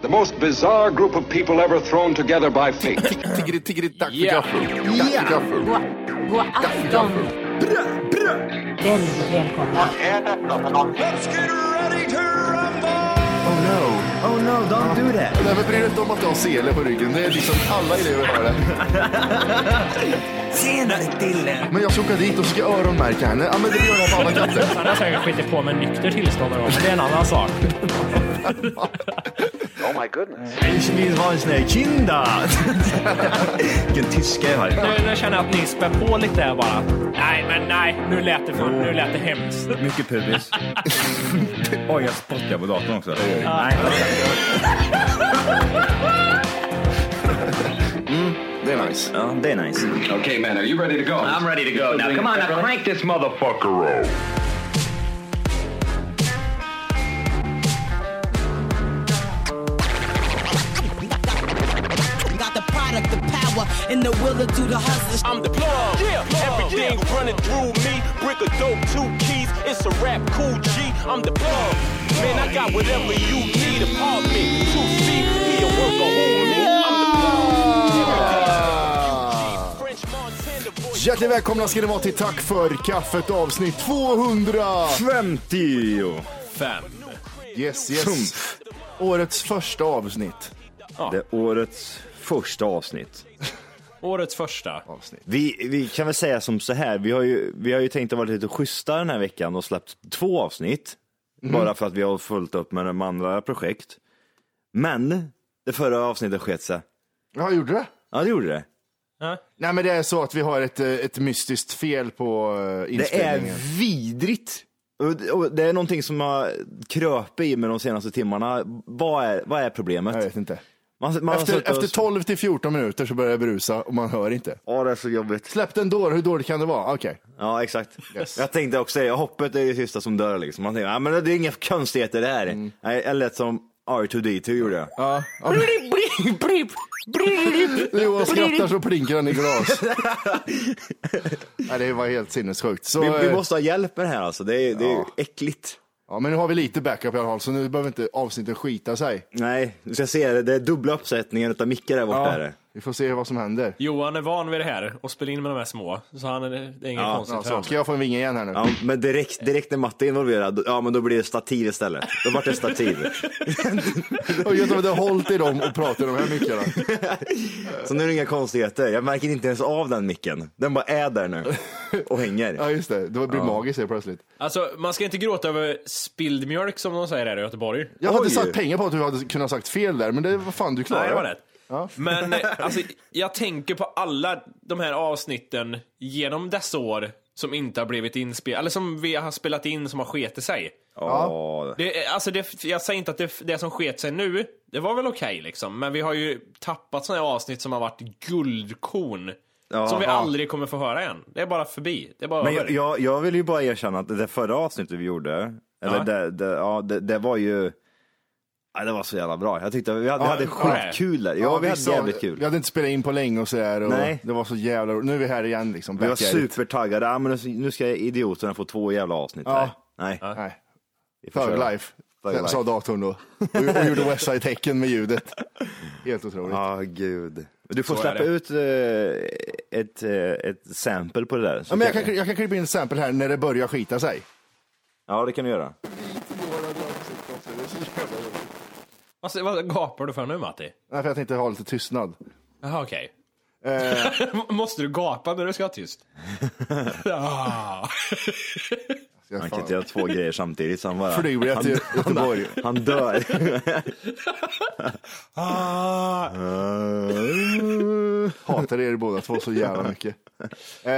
The most bizarre group of people ever thrown together by fate. Tiggeri, tiggeri, tack för Ja. gaffel. Tack för gaffel. God, god afton. Väldigt välkomna. Oh no, oh no, don't do that. Nej, men bry dig inte om att du har sele på ryggen. Det är liksom alla elever har det. Tjena Dille! Men jag ska åka dit och ska öronmärka henne. Ja, men det gör jag på alla katter. Han har säkert skitit på med nykter tillstånd då, men det är en annan sak. Ich vill ha en sån här kinda. Vilken tyska jag har. Nu, nu känner jag att ni spär på lite här bara. Nej, men nej. Nu lät det, fan, nu lät det hemskt. Mycket pubis. Oj, jag spottar på datorn också. Nej. Det är nice. Ja, det är nice. okay, man, are you ready to go? I'm ready to go now. Come on, now crank this motherfucker up. Got the product, the power, and the will to do the hustle. I'm the plug. Everything running through me. Brick of dope, two keys. It's a rap, cool G. I'm the plug. Man, I got whatever you need. Apartment, two feet. He a workaholic. I'm the plug. French Montana voice. Hjärtligt välkomna ska ni vara till Tack för kaffet avsnitt 200. 50! Fem. Yes, yes. Årets första avsnitt. Det är årets första avsnitt. Årets första. avsnitt. Vi, vi kan väl säga som så här, vi har ju, vi har ju tänkt att vara lite schyssta den här veckan och släppt två avsnitt. Mhm. Bara för att vi har fullt upp med de andra projekt. Men det förra avsnittet sket sig. Ja, gjorde det? Ja, det gjorde det. Nej, men det är så att vi har ett, eh, ett mystiskt fel på eh, Det inspelningen. är vidrigt. Och- och Det är någonting som har kröpit i mig de senaste timmarna. Vad är, vad är problemet? Jag vet inte. Man, man Efter, efter tolv... 12 till 14 minuter så börjar jag brusa och man hör inte. Ja, det är så jobbigt. Släpp den då, hur dåligt kan det vara? Okej. Ja, exakt. Jag tänkte också det, hoppet är det sista som dör liksom. Man tänker, ja, men det är inga konstigheter det här. Nej, jag lät som R2D2 gjorde jag. När Johan skrattar så plinkar han i glas. Nej, det var helt sinnessjukt. Så, Vi, vi eh, måste ha hjälp med det här alltså. Det är, det är Ja. äckligt. ja, men nu har vi lite backup i alla fall, så nu behöver inte avsnittet skita sig. Nej, du ska se det. Det är dubbla uppsättningen utav mickar där borta. är det. Vi får se vad som händer. Johan är van vid det här och spelar in med de här små. Så han är, det är inget konstigt Ja, för så, honom. ska jag få en vinge igen här nu? Ja, men direkt, direkt när Matte är involverad, då- ja men då blir det stativ istället. Då vart det stativ. Och jag hade hållit i dem och pratat i de här mickarna. Så nu är det inga konstigheter. Jag märker inte ens av den micken. Den bara är där nu och hänger. Ja, just det. Det blir magiskt helt plötsligt. Alltså, man ska inte gråta över spilld mjölk som de säger här i Göteborg. Jag hade Oj. satt pengar på att du hade kunnat sagt fel där, men det var fan du klarade. Nej, det var rätt. Men eh, alltså, jag tänker på alla de här avsnitten genom dessa år som inte har blivit inspelade, eller som vi har spelat in som har sket sig. Ja. Det, är- alltså det, jag säger inte att det, det som sket sig nu, det var väl okej liksom, men vi har ju tappat sådana här avsnitt som har varit guldkorn. som vi aldrig kommer få höra igen. Det är bara förbi. Det är bara Men över. jag, jag, jag vill ju bara erkänna att det där förra avsnittet vi gjorde, eller Ja. det, det, ja, det, det var ju, ja, det var så jävla bra. Jag tyckte vi hade, vi hade ja. skitkul där. Ja, vi hade sa- jävligt kul. Vi hade inte spelat in på länge och sådär. Och Nej. Det var så jävla roligt. Nu är vi här igen liksom. Vi var back at it. supertaggade. Ja, men nu- nu ska idioterna få två jävla avsnitt Ja. här. Nej. Nej. vi får Thug köra. life, Thug sa- sa life. datorn då. Och, och gjorde Westside-tecken med ljudet. Helt otroligt. Ja, gud. Du får Så är släppa det. ut eh, ett, eh, ett sample på det där. Ja, men jag, kan, jag kan klippa in ett sample här när det börjar skita sig. ja, det kan du göra. Alltså, vad gapar du för nu Matti? Nej, för jag tänkte ha lite tystnad. Eh, Jaha okej. Måste du gapa när du ska vara tyst? ah. Jag Han fan- kan inte göra två grejer samtidigt. Så han bara, Flyger jag till Göteborg. han dör. Ah. Hatar er båda två så jävla mycket. Eh,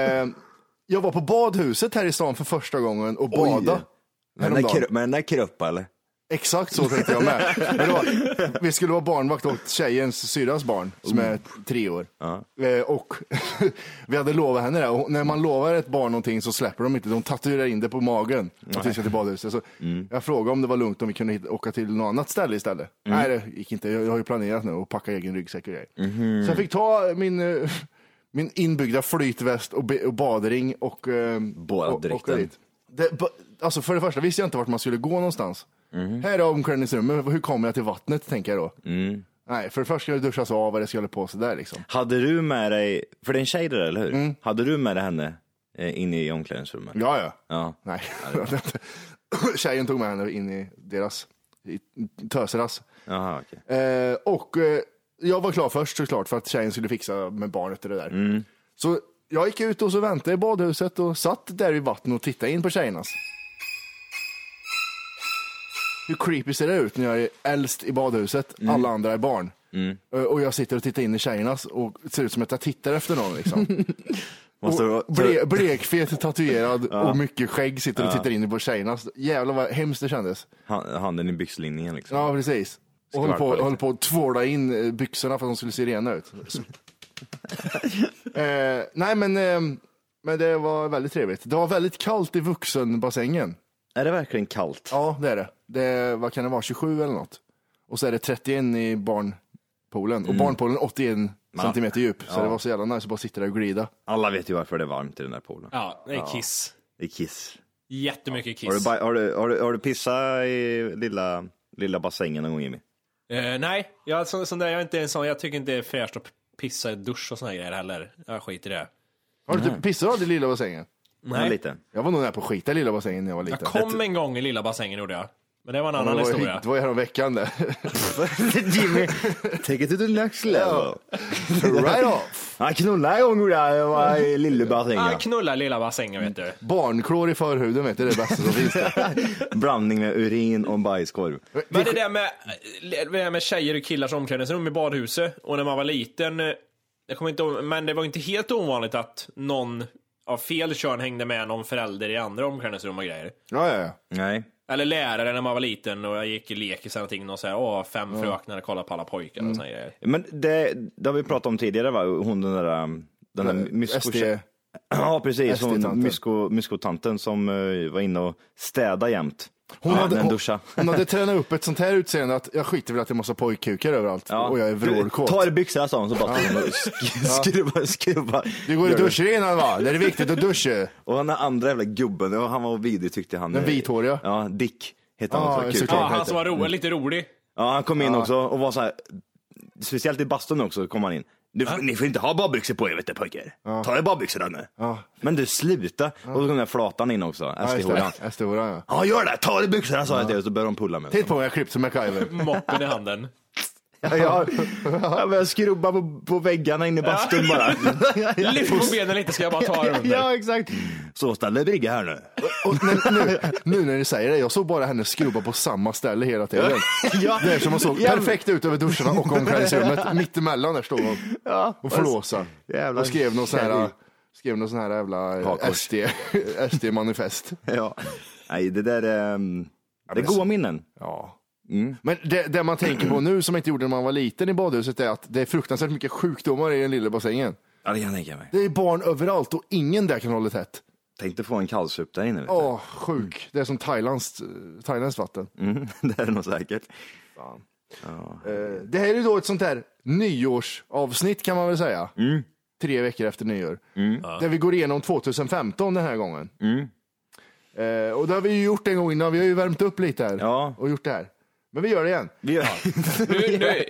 jag var på badhuset här i stan för första gången och bada. Med den, där Häromdagen. kro- med den där kropp eller? Exakt så tänkte jag med. Men det var, vi skulle vara barnvakt åt tjejens, syrrans barn som är tre år. Eh, och vi hade lovat henne det. Och när man lovar ett barn någonting så släpper de inte. De tatuerar in det på magen. Att vi ska till badhuset. Så Jag frågade om det var lugnt om vi kunde hitta, åka till något annat ställe istället. Nej, det gick inte. Jag, jag har ju planerat nu och packa egen ryggsäck och grejer. Så jag fick ta min, eh, min inbyggda flytväst och, be, och badring och... eh, och- och åka Baddräkten. dit. Det, ba- alltså för det första visste jag inte vart man skulle gå någonstans. Här är omklädningsrummet, hur kommer jag till vattnet tänker jag då. Nej, för först ska det duschas av och det ska hålla på sådär liksom. Hade du med dig, för det är en tjej där, eller hur? Hade du med dig henne eh, in i omklädningsrummet? Ja, ja. Mm. Ja. Nej, tjejen tog med henne in i deras, i töseras. Jaha, okej. Eh, och eh, jag var klar först såklart för att tjejen skulle fixa med barnet och det där. Så jag gick ut och så väntade i badhuset och satt där i vattnet och tittade in på alltså. tjejernas. Hur creepy ser det ut när jag är äldst i badhuset, alla andra är barn. Eh, Och jag sitter och tittar in i tjejernas och ser ut som att jag tittar efter någon. Liksom. Måste det vara- Och ble, blekfet, tatuerad och mycket skägg sitter och tittar in på tjejernas. Jävlar vad hemskt det kändes. Han- Handen i byxlinningen liksom. Ja, precis. Och höll på, Skvalpa lite. höll på att tvåla in eh, byxorna för att de skulle se rena ut. eh, nej, men, eh, men det var väldigt trevligt. Det var väldigt kallt i vuxenbassängen. Är det verkligen kallt? Ja, det är det. det vad kan det vara, 27 eller något? Och så är det 31 i barnpoolen. Och Mm. barnpoolen 81 centimeter djup. Så det var så jävla nice att bara sitta där och glida. Alla vet ju varför det är varmt i den där poolen. Ja, det är kiss. Det är kiss. Jättemycket Har du, kiss. baj- har, du, har, du, har du pissat i lilla, lilla bassängen någon gång Jimmy? Eh, nej, jag, sån, sån där, jag, är inte en sån, jag tycker inte det är fräscht att pissa i dusch och såna här grejer heller. Jag skiter i det. Har Mm. du inte pissat aldrig i lilla bassängen? Nej. Lite. Jag var nog nära på att skita i lilla bassängen när jag var liten. Jag kom en gång i lilla bassängen gjorde jag. Men det var en det annan var, ju, historia. det var ju häromveckan det. Jimmy, take it to the next level. right off! Han knullade en gång gjorde jag, jag var i Ah, lillebassängen. knulla lilla bassängen vet du. Barnklor i förhuden vet du, det är det bästa som finns. Blandning med urin och bajskorv. Men det där med, eh, det där med tjejer och killars omklädningsrum i badhuset och när man var liten. eh, Jag kommer inte ihåg, men det var inte helt ovanligt att någon av fel kön hängde med någon förälder i andra omklädningsrum och grejer. Ja, ja, ja. Nej. Eller lärare när man var liten och jag gick i lekis eller någonting och så här, åh, fem fröknar och kollade på alla pojkar och såna grejer. Men det, det har vi pratat om tidigare va? Hon den där, um, den Eh, där mysko... SD, Ja precis, hon SD-tanten. mysko, myskotanten som eh, var inne och städade jämt. hon, Ja, hade, men hon, duscha. hon hade tränat upp ett sånt här utseende att jag skiter väl att det är massa pojkkukar överallt och jag är vrålkåt. Ta i byxorna sa hon, så bara stod hon och sk- skruva, skruva. Du går i duschen innan va? Det är viktigt att duscha. Och den där andra jävla gubben, det var- han var vidrig tyckte han. Den vithåriga? Ja, Dick hette Ja, han. också, kul. såklart. Ja, han som var ro, lite rolig. ja, han kom in också och var så här, speciellt i bastun också kom han in. Du, Ni får inte ha badbyxor på er vet du pojkar. Ta er badbyxorna nu. Men du sluta. Och så kom den där flatan in också, Ja, just SD-horan. det. Jag står där, ja. Ja gör det, ta av dig byxorna sa jag till er. Så började de pulla mig. Titta på mig, jag klippt som MacGyver. Moppen i handen. Ja, jag, jag började skrubba på, på väggarna inne i bastun bara. Lyft på benen lite ska jag bara ta här under. ja exakt. Så ställer brigga här nu. Och nu, nu, nu när du säger det, jag såg bara henne skrubba på samma ställe hela tiden. Ja. Det är som hon såg Ja. perfekt ut över duscharna och omklädningsrummet. Mittemellan där stod hon Ja. och flåsade. Jävla Och skrev någon sån här, kärring. skrev någon sån här jävla eh, Hakkors. SD, SD-manifest. Ja. Nej, det där är... ehm, det är goa minnen. Ja. Mm. Men det, det man tänker på nu som man inte gjorde när man var liten i badhuset är att det är fruktansvärt mycket sjukdomar i den lilla bassängen. Ja, det kan jag tänka mig. Det är barn överallt och ingen där kan hålla tätt. Tänkte få en kallsup där inne. Vet du. Åh, sjuk. Det är som Thailands, eh, Thailands vatten. Mm, det är nog säkert. Eh, Det här är ju då ett sånt här nyårsavsnitt kan man väl säga. Tre veckor efter nyår. Där vi går igenom 2015 den här gången. Eh, och det har vi ju gjort en gång innan. Vi har ju värmt upp lite här Ja. och gjort det här. Men vi gör det igen. Vi gör... Nu, nu,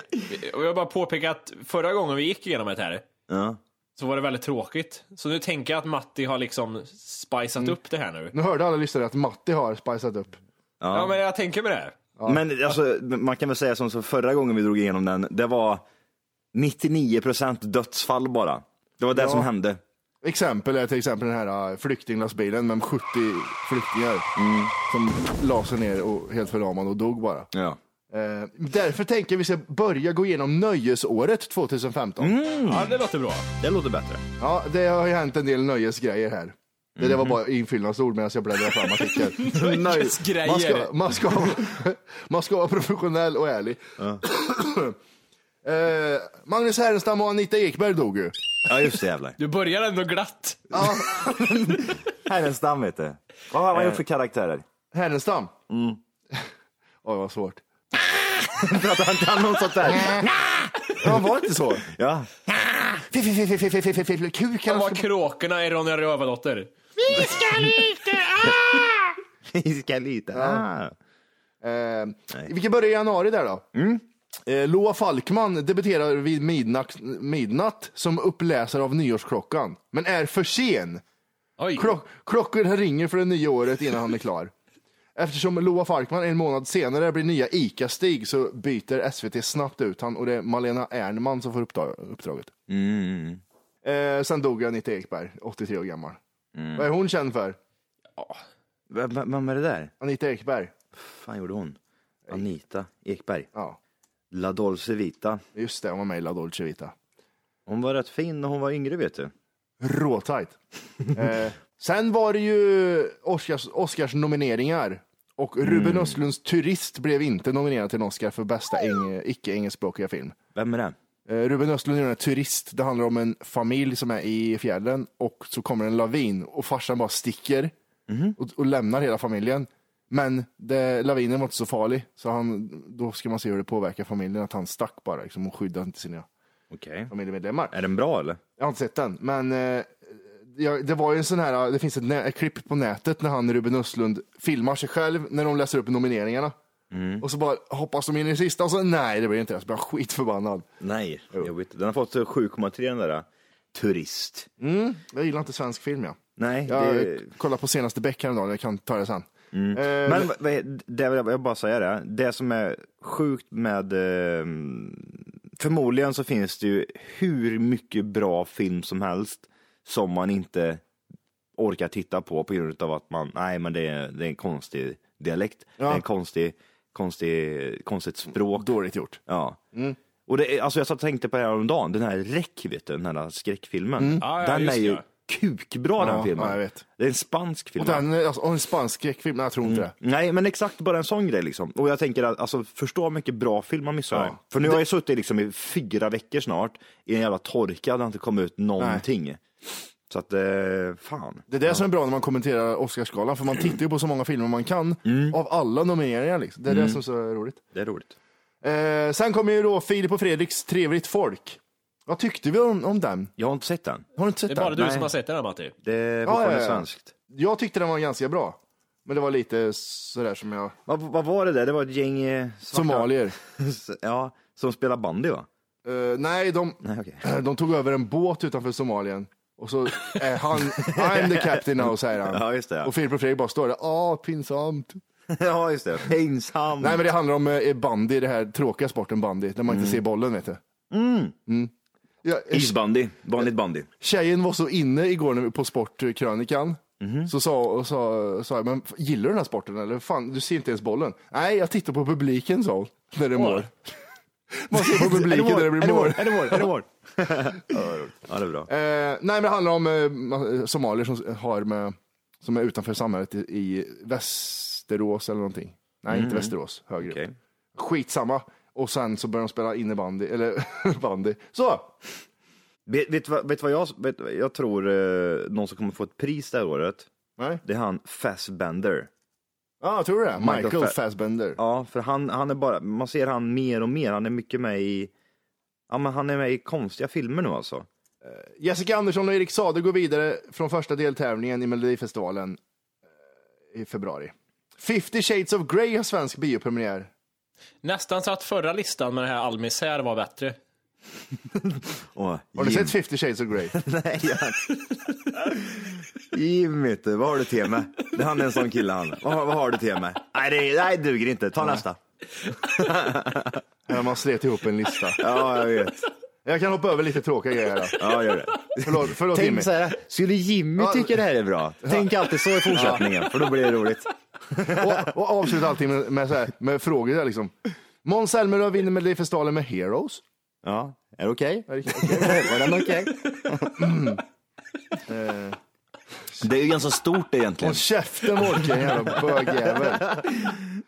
och jag vill bara påpeka att förra gången vi gick igenom det här ja. så var det väldigt tråkigt. Så nu tänker jag att Matti har liksom spicat Mm. upp det här nu. Nu hörde alla lyssnare att Matti har spicat upp. Ja. men jag tänker med det. Men alltså, man kan väl säga som så förra gången vi drog igenom den, det var 99 procent dödsfall bara. Det var det som hände. Exempel är till exempel den här eh, flyktinglastbilen med 70 flyktingar som la sig ner och helt förlamade och dog bara. Ja. Eh, därför tänker jag vi ska börja gå igenom nöjesåret 2015. Ja, det låter bra. Det låter bättre. Ja, det har ju hänt en del nöjesgrejer här. Det där var bara infyllnadsord medan jag bläddrade fram artikeln. Nöjesgrejer. Man ska, man, ska, man ska vara professionell och ärlig. eh, Magnus Härenstam och Anita Ekberg dog ju. Ja, just det jävlar. Du börjar ändå glatt. Härenstam vet du. Vad har han gjort för karaktärer? Härenstam? Oj, vad svårt. Pratar inte han om sånt där? Han var inte så. Ja. Fy, fy, fy, fy, fy, fy, fy, fy, fy, Han Kuken. var kråkorna i Ronja Rövardotter. Vi ska lita. Ah. Eh, vi kan börja i januari där då. Eh, Loa Falkman debuterar vid midnatt, midnatt som uppläsare av Nyårsklockan, men är för sen. Oj. Klock, klockorna ringer för det nya året innan han är klar. Eftersom Loa Falkman en månad senare blir nya ICA-Stig så byter SVT snabbt ut han och det är Malena Ernman som får uppdrag, uppdraget. Eh, sen dog Anita Ekberg, 83 år gammal. Vad är hon känd för? V- v- vem är det där? Anita Ekberg. fan gjorde hon? Anita Ekberg. Ja, La Dolce Vita. just det, hon var med i La Dolce Vita. Hon var rätt fin när hon var yngre vet du. Råtajt. Eh, sen var det ju Oscars, Oscars nomineringar och Ruben Östlunds Turist blev inte nominerad till en Oscar för bästa eng- icke-engelskspråkiga film. Vem är det? Eh, Ruben Östlund är den här turist. Det handlar om en familj som är i fjällen och så kommer en lavin och farsan bara sticker och, och lämnar hela familjen. Men det, lavinen var inte så farlig, så han, då ska man se hur det påverkar familjen, att han stack bara liksom, och skyddade inte sina Okej. familjemedlemmar. Är den bra eller? Jag har inte sett den, men eh, jag, det var ju en sån här, det finns ett, nä- ett klipp på nätet när han Ruben Östlund filmar sig själv när de läser upp nomineringarna. Och så bara hoppas de in i det sista och så nej, det blir inte det. Så blir han skitförbannad. Nej, jobbigt. Den har fått 7,3 den där. eh, Turist. Jag gillar inte svensk film jag. Nej, Jag det... kollade på senaste Beck häromdagen, jag kan ta det sen. Eh, Men vad- vad är- det vill jag jag bara säga det. Det som är sjukt med... Eh, förmodligen så finns det ju hur mycket bra film som helst som man inte orkar titta på på grund av att man, nej men det är, det är en konstig dialekt. Det är en konstig, konstig, konstigt språk. Dåligt Mm. gjort. Ja. Och det, är- alltså jag satt och tänkte på det här om dagen, den här Räck, vet du, den här skräckfilmen. Ja, ja, den just är ju det. kukbra Mm. Ja, den filmen. ja, jag vet. Det är en spansk film. Och va? den, alltså, och en spansk skräckfilm, nej jag tror inte det. Nej, men exakt bara en sån grej liksom. Och jag tänker att, alltså förstå hur mycket bra film man missar. Ja. För nu har jag suttit liksom i fyra veckor snart i en jävla torka, det har inte kommit ut någonting. Så att, eh, fan. Det är det som är bra när man kommenterar Oscarsgalan, för man tittar ju på så många filmer man kan av alla nomineringar. Liksom. Det är det som är så roligt. Det är roligt. Eh, sen kommer ju då Filip och Fredriks Trevligt folk. Vad tyckte vi om, om den? Jag har inte sett den. Har du inte sett Det är bara den? du Nej. som har sett den här Matti. Det är fortfarande ja, ja. svenskt. Jag tyckte den var ganska bra. Men det var lite sådär som jag... Vad, vad var det där? Det var ett gäng eh, svarta- Somalier. ja, som spelar bandy va? Eh, nej, de, Nej, okej. de tog över en båt utanför Somalien. Och så är han, I'm the captain now, säger han. Ja, just det, ja. Och Filip och Fredrik bara står där, ah, pinsamt. ja, just det. Pinsam. Nej, men det handlar om eh, bandy, det här tråkiga sporten bandy, där man inte ser bollen, vet du. Mm. Ja, eh, Isbandy. Vanligt bandy. Tjejen var så inne igår när- på Sportkrönikan. Så sa, och sa, sa jag, men f- gillar du den här sporten eller? Fan, du ser inte ens bollen. Nej, jag tittar på publiken, sa hon, när det mål. Man ser på publiken när det blir mål. Är det mål? Är det mål? ja, det är bra. Eh, nej, men det handlar om eh, somalier som, har med, som är utanför samhället i, i Västerås eller någonting. Nej, inte Västerås, högre upp. Mm. Okej. Skitsamma. Och sen så börjar de spela innebandy, eller bandy. Så! Vet, vet, vad- vet vad jag, vet, vad jag tror eh, någon som kommer få ett pris det här året? Nej. Det är han Fassbender. Ja, tror du det? Michael, Michael Fa- Fassbender. Ja, för han, han är bara, man ser han mer och mer. Han är mycket med i, ja men han är med i konstiga filmer nu alltså. Jessica Andersson och Erik Sade går vidare från första deltävlingen i Melodifestivalen eh, i februari. 50 Shades of Grey har svensk biopremiär. Nästan så att förra listan med det här All misär var bättre. Åh, Har du Jim. sett 50 Shades of Grey? Nej, jag... Jim vet du, vad har du till mig? Det- Han är en sån kille han. Vad, har- vad har du till mig? Nej, det nej, duger inte. Ta nästa. När man slet ihop en lista. Ja, jag vet. Jag kan hoppa över lite tråkiga grejer här. då. Ja, gör det. Förlåt, förlåt Jimmy. Tänk så här, skulle Jimmy Ja. tycka det här är bra? Tänk alltid så i fortsättningen, för då blir det roligt. Och, och avsluta allting med, med, så här, med frågor. Där, liksom. Måns Zelmerlöw vinner Melodifestivalen med Heroes. Ja, är det okej? Är det Var den okej? Eh, Det är ju ganska stort egentligen. Håll käften Wolke, jävla bögjävel.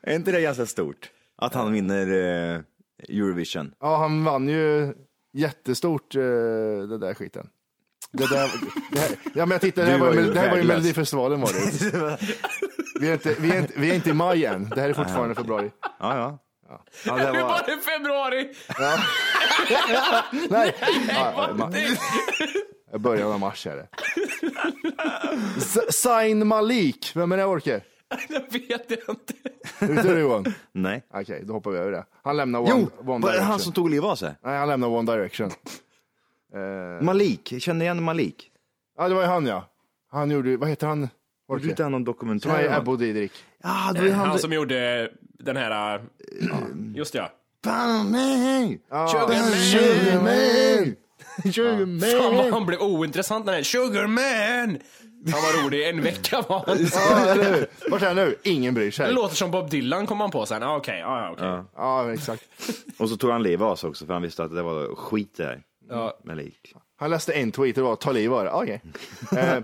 Är inte det ganska stort? Att han vinner eh, Eurovision. Ja, han vann ju jättestort, eh, det där skiten. Det där, det här, ja, men jag tittade, det här Du var, var ju- ju det här var ju värdelös. Melodifestivalen var det. Vi är, inte, vi, är inte, vi är inte i maj än, det här är fortfarande februari. Ja, ja. ja det Det var... var i februari! Nej, ja, Ah, ma- början av mars är det. S- Zayn Malik, vem är det Wolke? det vet jag inte. Vet du det Johan? Nej. Okej, då hoppar vi över det. Han lämnar One, Jo, one var det Direction. han som tog livet av sig? Nej, han lämnar One Direction. Eh. Malik, jag kände igen Malik. Ja, det var ju han ja. Han gjorde ju- vad heter han? Gjorde Orke? inte han någon dokumentär? Nej, va? Ebbo Didrik. Ja, det var ju Eh, han, Han som gjorde den här... ja, Just det, ja. Fan, nej! Ja. Sugarman! Fan vad Sugarman! han blev ointressant när den Sugarman! Han var rolig, en vecka var han. Ja, eller hur? Vart är han nu? Ingen bryr Det sig. låter som Bob Dylan kom han på sen. Ah, Okej, ah, okej. Ja. Ja, exakt. Och så tog han livet av sig också för han visste att det var skit det här. Malik. Han läste en tweet och det var ta liv av det. Okej. Eh,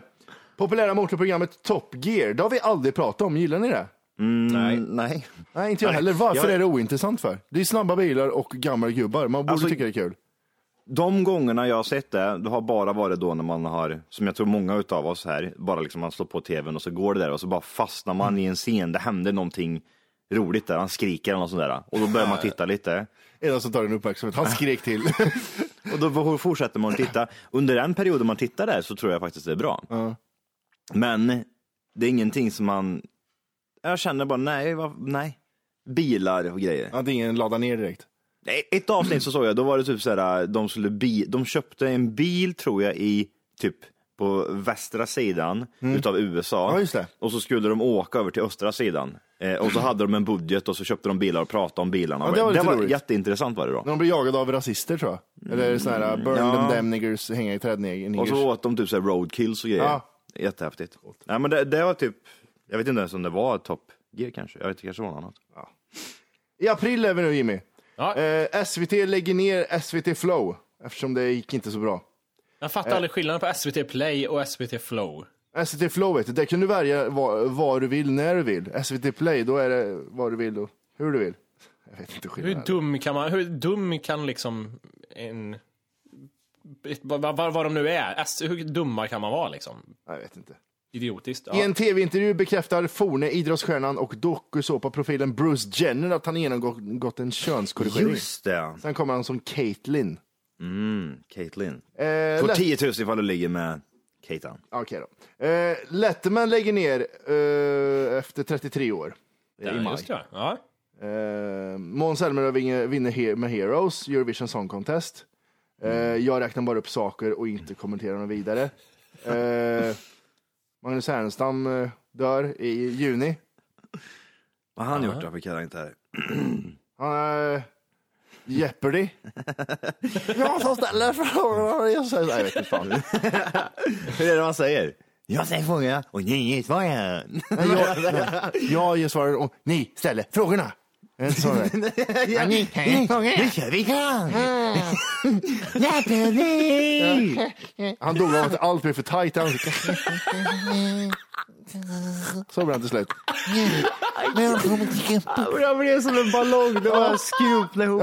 populära motorprogrammet Top Gear, det har vi aldrig pratat om. Gillar ni det? Nej. Mm, Nej. Nej, inte jag heller. Varför Jag- är det ointressant för? Det är snabba bilar och gamla gubbar. Man borde Alltså- tycka det är kul. De gångerna jag har sett det, det har bara varit då när man har, som jag tror många utav oss här, bara liksom man slår på tvn och så går det där och så bara fastnar man i en scen, det händer någonting roligt där, han skriker eller något sånt där. Och då börjar man titta lite. Är det någon som tar en uppmärksamhet? Han skrek till. Och då fortsätter man att titta. Under den perioden man tittar där så tror jag faktiskt det är bra. Men det är ingenting som man, jag känner bara nej, vad- nej. Bilar och grejer. Antingen laddar ner direkt. Nej, Ett avsnitt så såg jag, då var det typ så här, de, skulle bi- de köpte en bil tror jag i typ på västra sidan utav USA. Mm. Ja, just det. Och så skulle de åka över till östra sidan. Eh, och så hade de en budget och så köpte de bilar och pratade om bilarna. Ja, det var lite roligt. jätteintressant var det då. När de blir jagade av rasister tror jag. Eller sådana här uh, burn ja. them damn niggers, hänga i träd neg- Och niggers. så åt de typ så här roadkills och grejer. Ja. Jättehäftigt. Nej men det, det var typ, jag vet inte ens om det var Top Gear kanske. Jag vet inte, kanske var något annat. I april är vi nu Jimmy. Ja. Eh, SVT lägger ner SVT Flow eftersom det gick inte så bra. Jag fattar aldrig skillnaden på SVT Play och SVT Flow. SVT Flow vet du, där kan du välja vad, vad du vill när du vill. SVT Play, då är det vad du vill och hur du vill. Jag vet inte Hur skillnaden. dum kan man, hur dum kan liksom en... ett- Vad, vad, vad de nu är. S, hur dumma kan man vara liksom? Jag vet inte. Idiotiskt. I Ja. en tv-intervju bekräftar forne idrottsstjärnan och dokusåpaprofilen Bruce Jenner att han genomgått en könskorrigering. Just det, Sen kommer han som Caitlyn. Caitlyn. Eh, Får lätt- 10 000 ifall du ligger med Caitan. Okej då. Eh, Letterman lägger ner eh, efter 33 år. Ja, just det. Ja. Eh, Måns Zelmerlöw vinner- vinner He- med Heroes, Eurovision Song Contest. Eh, jag räknar bara upp saker och inte kommenterar dem vidare. Eh, Magnus Härenstam eh, dör i juni. Vad har han gjort då för karaktär? Han är Jeopardy. jag som ställer frågor. Jag säger- Nej, jag vet inte fan. Hur är det man säger? Jag säger frågan och ni är svaren. Jag ger svaren och ni ställer frågorna. Är det inte så det är? Ja, ni kan frågorna. Nu kör vi igång! Jeopardy! Han dog av att allt blev för tajt. Han... Så blev han till slut. Jag blev som en ballong, det var skrumpna ihop.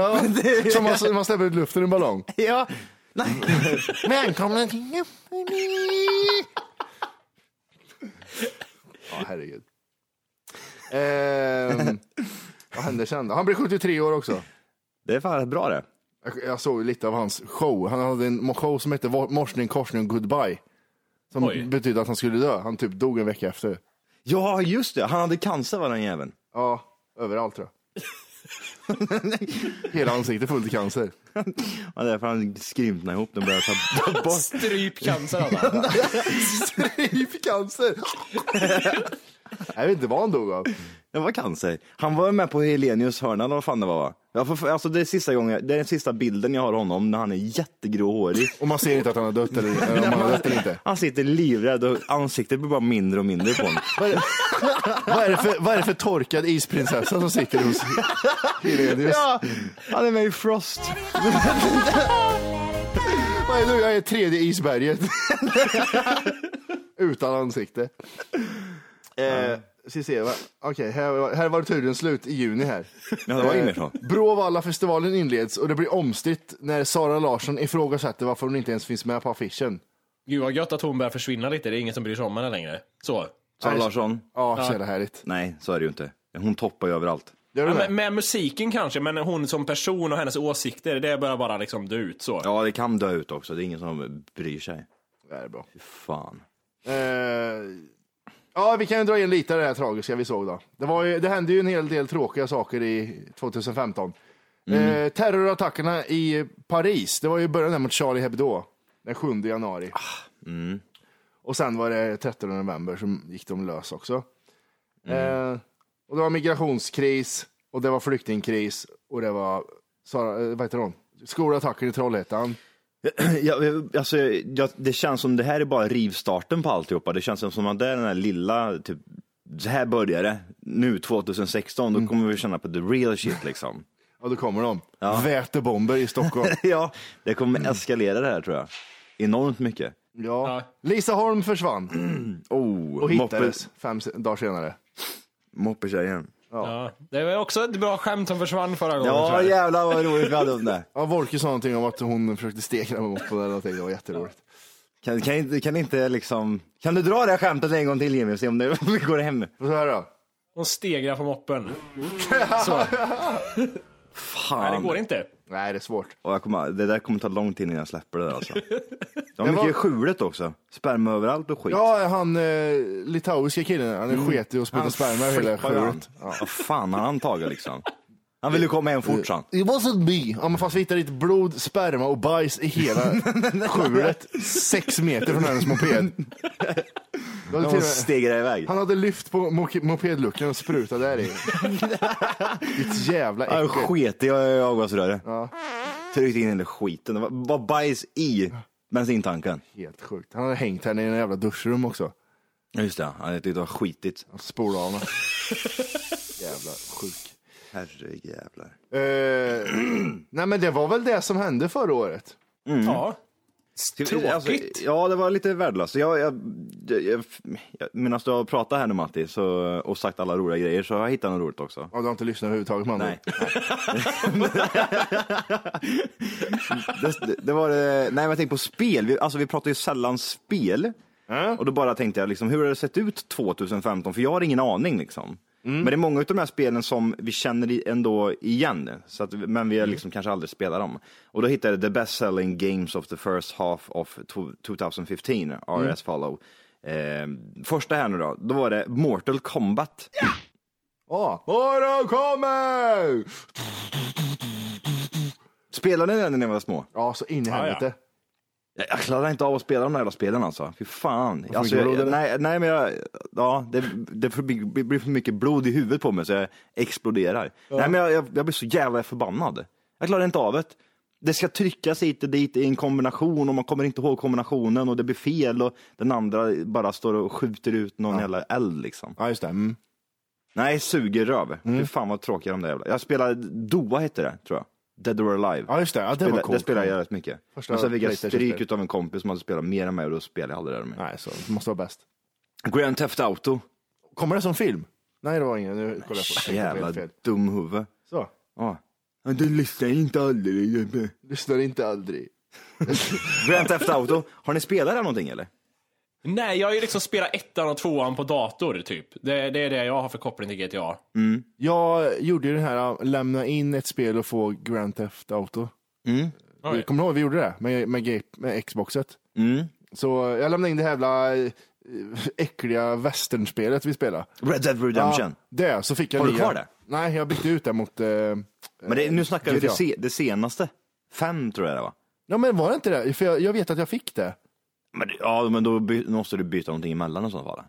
Ja, som man, man släpper ut luften i en ballong. Ja. Nej. Välkomna till Ja, herregud. Ehm, vad hände sen då? Han blev 73 år också. Det är fan bra det. Jag- Jag såg ju lite av hans show. Han hade en show som hette Morsning, korsning, goodbye. Som Oj. betydde att han skulle dö. Han typ dog en vecka efter. Ja, just det. Han hade cancer var den jäveln. Ja, överallt tror jag. Hela ansiktet fullt i cancer. Ja, därför han skrympnade ihop den och började ta, ta bort. Strypcancer alltså. Stryp cancer! jag vet inte vad han dog av. Det var cancer. Han var med på Helenius hörna eller vad fan det var va? Jag får, alltså, det, är sista gången, det är den sista bilden jag har av honom när han är jättegråhårig. Och man ser inte att han har dött eller, eller om han har dött eller inte. Han sitter livrädd och ansiktet blir bara mindre och mindre på honom. Vad är, det, vad, är det för, vad är det för torkad isprinsessa som sitter hos Helenius? Ja, han är med i Frost. Vad är du? Jag är tredje isberget. Utan ansikte. Eh, ska vi se, va? Okej, här, var- här var det tydligen slut i juni här. Ja, det var inget så. Bråvalla-festivalen inleds och det blir omstritt när Sara Larsson ifrågasätter varför hon inte ens finns med på affischen. Gud vad gött att hon börjar försvinna lite. Det är ingen som bryr sig om henne längre. Så. Sara Larsson? Ja, så jävla härligt. Nej, så är det ju inte. Hon toppar ju överallt. Gör du Ja, det? med, med musiken kanske, men hon som person och hennes åsikter, det börjar bara liksom dö ut så. Ja, det kan dö ut också. Det är ingen som bryr sig. Det här är bra. Fan. Eh, Ja, vi kan ju dra in lite av det här tragiska vi såg då. Det, var ju, det hände ju en hel del tråkiga saker i 2015. Eh, terrorattackerna i Paris, det var ju i början där mot Charlie Hebdo, den 7 januari. Och sen var det 13 november som gick de lös också. Eh, och det var migrationskris, och det var flyktingkris, och det var, Sara, eh, vad heter hon? Skolattacker i Trollhättan. Jag, jag- alltså, jag, det känns som det här är bara rivstarten på alltihopa. Det känns som att det är den här lilla, typ, så här börjar det. Nu 2016, då kommer vi känna på the real shit liksom. Ja, då kommer de. Vätebomber i Stockholm. ja, Mm. det kommer eskalera det här tror jag. Enormt mycket. Ja. Lisa Holm försvann. Oh, Och hittades fem se- dagar senare. moppetjejen. Ja. Det var också ett bra skämt som försvann förra gången. Ja tror jag. jävlar vad roligt vi hade om det. Ja, Wolke sa någonting om att hon försökte stegra med moppen eller någonting. Det var jätteroligt. Kan, kan, inte- kan inte liksom, kan du dra det här skämtet en gång till Jimmy och se om det går hem? Och så här då. Hon stegrar på moppen. Nej, det Fan. går inte. Nej, det är svårt. Och jag kommer, det där kommer ta lång tid innan jag släpper det där alltså. De har Men mycket i vad- skjulet också. Sperma överallt och skit. Ja, han eh, litauiska killen, han är sketig och sprutar sperma i hela Mm. flippar ju sjuret. han. Vad fan har han tagit liksom? Han vill ju komma hem fort sa han. Eh, It wasn't me. Ja, men fast vi hittade lite blod, sperma och bajs i hela skjulet. Sex meter från hennes moped. Då hade till och Han med- stegrar iväg. Han hade lyft på mo- mopedluckan och sprutat där i. Ditt jävla Han äckel. sket i avgasröret. Tryckte in hela skiten. Det var, var bajs i bensintanken. Helt sjukt. Han hade hängt henne i en jävla duschrum också. Ja, Just det, han tyckte det var skitigt. Spola av henne. Jävla sjuk. Herrejävlar. Eh, nej men det var väl det som hände förra året. Ja. Tråkigt. Alltså, ja, det var lite värdelöst. Jag, jag, jag, jag, medan du har pratat här nu Matti så, och sagt alla roliga grejer så har jag hittat något roligt också. Ja, du har inte lyssnat överhuvudtaget man. Nej. det, det var, det- nej, men jag tänkte på spel. Vi, alltså, vi pratar ju sällan spel. Och då bara tänkte jag, liksom, hur har det sett ut 2015? För jag har ingen aning. Liksom. Men det är många av de här spelen som vi känner i- ändå igen, så att, men vi har liksom kanske aldrig spelat dem. Och då hittade jag The Best Selling Games of the First Half of to- 2015, RS Follow. Eh, första här nu då, då var det Mortal Kombat. Ja. Och de kommer! Spelade ni den när ni var små? Ja, så in i helvete. Jag- Jag klarar inte av att spela de där jävla spelen alltså. Fy fan. Alltså, mycket blod, jag, eller? nej, nej, men jag, ja, det, det får bli- blir, blir för mycket blod i huvudet på mig så jag exploderar. Nej, men jag, jag, jag blir så jävla förbannad. Jag klarar inte av det. Det ska tryckas hit och dit i en kombination och man kommer inte ihåg kombinationen och det blir fel och den andra bara står och skjuter ut någon jävla eld liksom. Ja, just det. Mm. Nej, suger röv. Fy fan vad tråkiga de där jävla. Jag spelade Doa hette det, tror jag. Dead or Alive. Ja, just det. Ja, det Spela, var det coolt. spelade jag rätt mycket. Första men sen fick jag PlayStation-spel. stryk utav en kompis som hade spelat mer än mig och då spelade jag aldrig det där med. Nej, så det måste vara bäst. Grand Theft Auto. Kommer det som film? Nej, det var ingen. Nu kollar jag på det. Jävla Helt fel. dumhuvud. Så. Ja. Men Du lyssnar inte aldrig. Lyssnar inte aldrig. Grand Theft Auto. Har ni spelat det någonting eller? Nej, jag har ju liksom spelat ettan och tvåan på dator, typ. Det, det är det jag har för koppling till GTA. Jag gjorde ju den här, äh, lämna in ett spel och få Grand Theft Auto. Oj. Kommer du ihåg vi gjorde det med, med, Gape- med Xboxet? Mm. Så jag lämnade in det här jävla eh, äckliga västernspelet vi spelade. Red Dead Redemption. Ja, det, så fick jag Har du nya. kvar det? Nej, jag bytte ut det mot... Eh, Men det, nu snackar vi det, GTA. se, det senaste. Fem tror jag det var. Ja, men var det inte det? För jag, jag vet att jag fick det. Men, det- ja, men då by, måste du byta någonting emellan i så fall.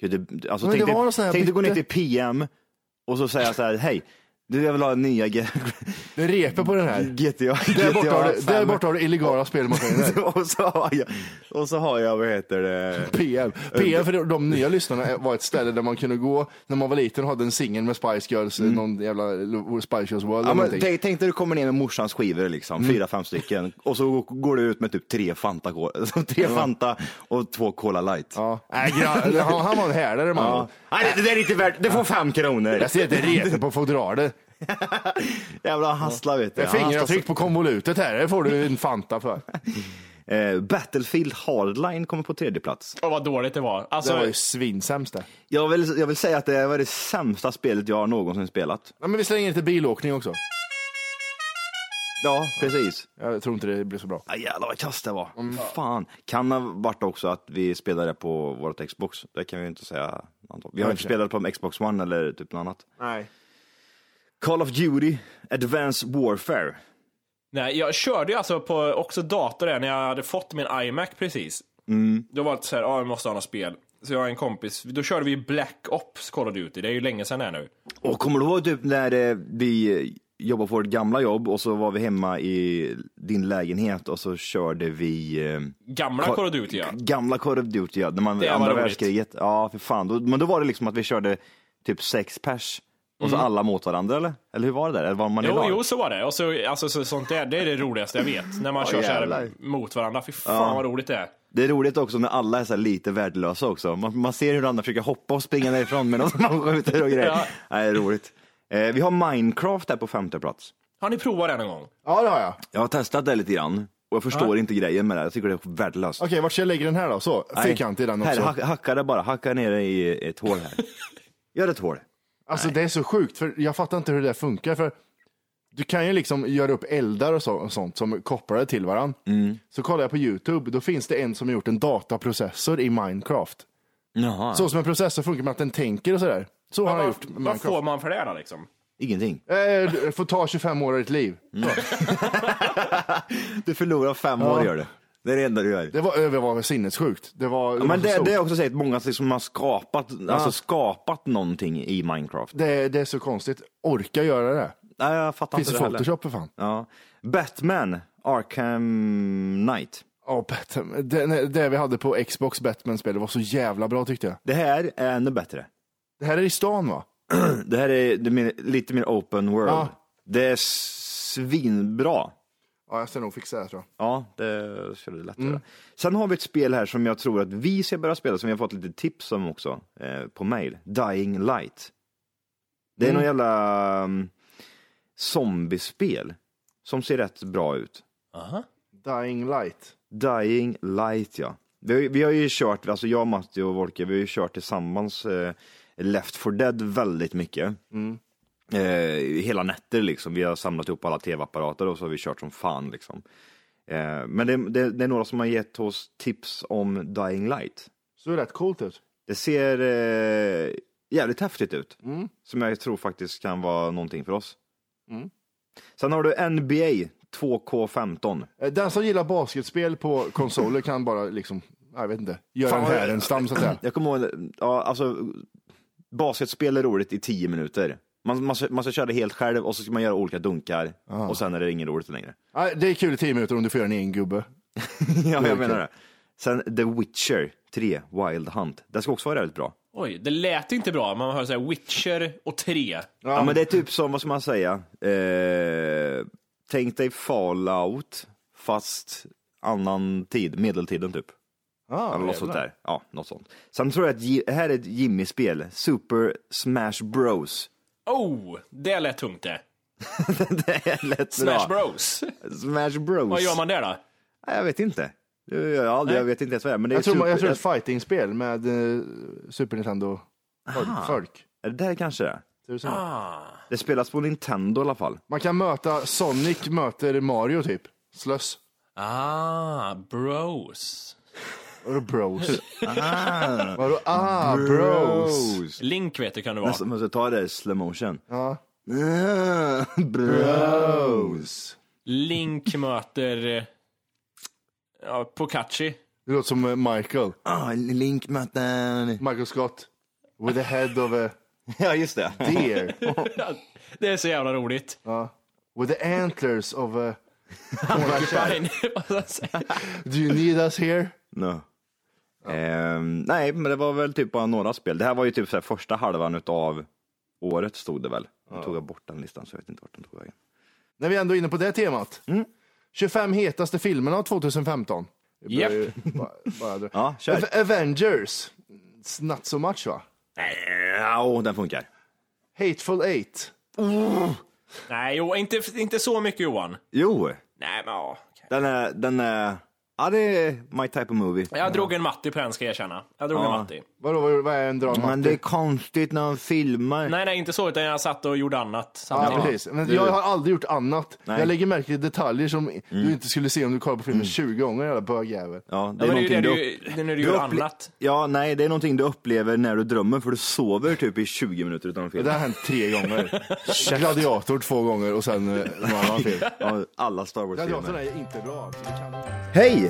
Gud, det- Alltså, Men det tänk dig- var någon sån här tänk dig gå ner bytte. till PM och så säga så här, hej, du jag vill ha nya G- Det reper på den här. GTA. Där borta, har du, fem. där borta har du illegala spelmaskiner. och, så har jag, och så har jag, vad heter det? PM. PM för de nya lyssnarna var ett ställe där man kunde gå när man var liten och hade en singel med Spice Girls, någon jävla Spice Girls World Mm. Ja, eller men någonting. tänk, tänk dig du kommer ner med morsans skivor, liksom, fyra, fem stycken, och så går du ut med typ tre Fanta, tre Fanta och två Cola Light. Ja. Nej, gran- han, han var en härdare man. Ja. Nej, det, det där är inte värt, det får fem kronor. Jag ser att det reper på fodralet. Jävla hassla vet du. Det är fingeravtryck på konvolutet här, det får du en Fanta för. Alltså- Eh, Battlefield Hardline kommer på tredje plats. Och vad dåligt det var. Alltså, Det var ju svinsämst det. Jag vill, jag vill säga att det var det sämsta spelet jag någonsin spelat. Ja, men vi slänger lite bilåkning också. Ja, precis. Jag tror inte det blir så bra. Ah, jävlar vad kass det var. Fan. Kan ha varit också att vi spelade på vårt Xbox. Det kan vi ju inte säga. Anton. Vi har inte spelat på Xbox One eller typ något annat. Nej. Call of Duty, Advanced Warfare. Nej, jag körde ju alltså på också dator där när jag hade fått min iMac precis. Då var det så här, ja, jag måste ha något spel. Så jag och en kompis, då körde vi Black Ops Call of Duty, det är ju länge sedan det här nu. Och kommer du ihåg typ när eh, vi jobbade på vårt gamla jobb och så var vi hemma i din lägenhet och så körde vi eh, Gamla Ka- Call of Duty ja. gamla Call of Duty, ja, när man, Det var andra roligt. världskriget. Ja, för fan. Då, men då var det liksom att vi körde typ sex pers och så alla mot varandra eller? Eller hur var det där? Eller var man i Mm. Jo, lag? jo, så var det. Och så, alltså, så, sånt där, det är det roligaste jag vet. När man kör så jävlar. här mot varandra. Fy fan vad roligt det är. Det är roligt också när alla är så här lite värdelösa också. Man, man ser hur andra försöker hoppa och springa därifrån medan man skjuter och grejer. Ja. Nej, det är roligt. Eh, vi har Minecraft där på femte plats. Har ni provat det någon gång? Ja, det har jag. Jag har testat det lite grann och jag förstår inte grejen med det. här. Jag tycker det är värdelöst. Okej, vart ska jag lägga den här då? Så, Nej. fyrkantig den Här, också. hack, hacka det bara, hacka ner det i ett hål här. Gör ett hål. Alltså det är så sjukt, för jag fattar inte hur det där funkar. För du kan ju liksom göra upp eldar och, så, och sånt som kopplade till varandra. Så kollar jag på YouTube, då finns det en som har gjort en dataprocessor i Minecraft. Jaha. Så som en processor funkar med att den tänker och sådär. Så har han gjort med Vad Minecraft. får man för det då liksom? Ingenting. Eh, du får ta 25 år av ditt liv. Du förlorar fem år gör du. Det är det enda du gör. Det var, det var sinnessjukt. Det var, Ja, men det, var så det, det har stort. jag också sett, många som har skapat, alltså skapat någonting i Minecraft. det, det är så konstigt. Orka göra det? Nej, jag fattar Finns det inte det heller. Photoshop för fan? Ja. Batman, Arkham Knight. Ja, Batman. Det, det vi hade på Xbox Batman-spel, det var så jävla bra tyckte jag. Det här är ännu bättre. Det här är i stan va? Det här är det är mer, lite mer open world. Ja. Det är svinbra. Ja, jag ska nog fixa det tror jag. Ja, det skulle det lätt göra. Sen har vi ett spel här som jag tror att vi ska börja spela, som vi har fått lite tips om också eh, på mail. Dying Light. Det är någon jävla um, zombiespel som ser rätt bra ut. Dying Light. Dying Light, ja. Vi, har ju- vi har ju kört, alltså jag, Matti och Volke, vi har ju kört tillsammans eh, Left 4 Dead väldigt mycket. Eh, hela nätter liksom, vi har samlat ihop alla tv-apparater och så har vi kört som fan liksom. Eh, men det, det, det är några som har gett oss tips om Dying Light. Så det är rätt coolt ut. Det ser eh, jävligt häftigt ut. Som jag tror faktiskt kan vara någonting för oss. Sen har du NBA 2K15. Eh, Den som gillar basketspel på konsoler kan bara liksom, jag vet inte, göra Fan, en vad- härenstam så att säga. Jag kommer ihåg, ja, alltså, basketspel är roligt i tio minuter. Man, man, ska- man ska köra det helt själv och så ska man göra olika dunkar och sen är det inget roligt längre. Nej, Det är kul i tio minuter om du får göra en egen gubbe. ja, är jag menar kul. det. Sen The Witcher 3, Wild Hunt. Det ska också vara jävligt bra. Oj, det lät inte bra. Man hör så här Witcher och 3. Ja. men det är typ som, vad ska man säga, eh, tänk dig Fallout fast annan tid, medeltiden typ. Ah, Eller något sånt där. Ja, något sånt. Sen tror jag att Ji- här är ett Jimmy-spel, Super Smash Bros. Oh, det lät tungt det. det är lätt Smash bra. Bros. Smash Bros. Vad gör man där då? Nej, jag vet inte. Jag, jag, jag, jag vet inte ens vad det är. typ- Men det är Jag tror, super... jag tror det är ett fightingspel med eh, Super Nintendo-folk. Är det där kanske det är? Ah. Det spelas på Nintendo i alla fall. Man kan möta, Sonic möter Mario typ. Slöss. Ah, Bros. Vadå bros? Ah. Vadå ah, bros? Link vet du kan det vara. Nästan måste ta det i slow motion. Ja. Bros. Link möter... eh, Ja, Pokachi. Det låter som eh, Michael. Ah, Link möter... Michael Scott. With the head of a Ja, just det. deer. Det är så jävla roligt. With the antlers of a... Fine. Vad ska jag säga? Do you need us here? No. Ehm, nej, men det var väl typ bara några spel. Det här var ju typ så här första halvan utav året stod det väl. Nu tog jag bort den listan så jag vet inte vart den tog vägen. När vi ändå är inne på det temat. Mm. 25 hetaste filmerna av 2015. Japp. Bara, bara dra. Ja, kör. Av- Avengers. It's not so much va? Ja, åh, den funkar. Hateful Eight. Nej, jo, inte, inte så mycket Johan. Jo, Nej, men ja. okej. Den är, den är, Ja, det är my type of movie. Jag drog en Matti på den ska jag erkänna. Jag drog Ja. en Matti. Vadå, vad- vad är en drama? Men det är konstigt när de filmar. Nej, nej, inte så, utan jag satt och gjorde annat Ja, samtidigt. precis. Men jag har aldrig gjort annat. Nej. Mm. Jag lägger märke till detaljer som du inte skulle se om du kollar på filmen 20 gånger, jävla bögjävel. Ja, det Ja, är men det är ju någonting det du, du, upp- det är när du du gör upple- annat. Ja, nej, det är någonting du upplever när du drömmer för du sover typ i 20 minuter utan film. Det har hänt tre gånger. Gladiator två gånger och sen eh, någon annan film. Ja, alla Star Gladiatorn Wars-filmer. är inte bra. alltså. Det kan- Hej!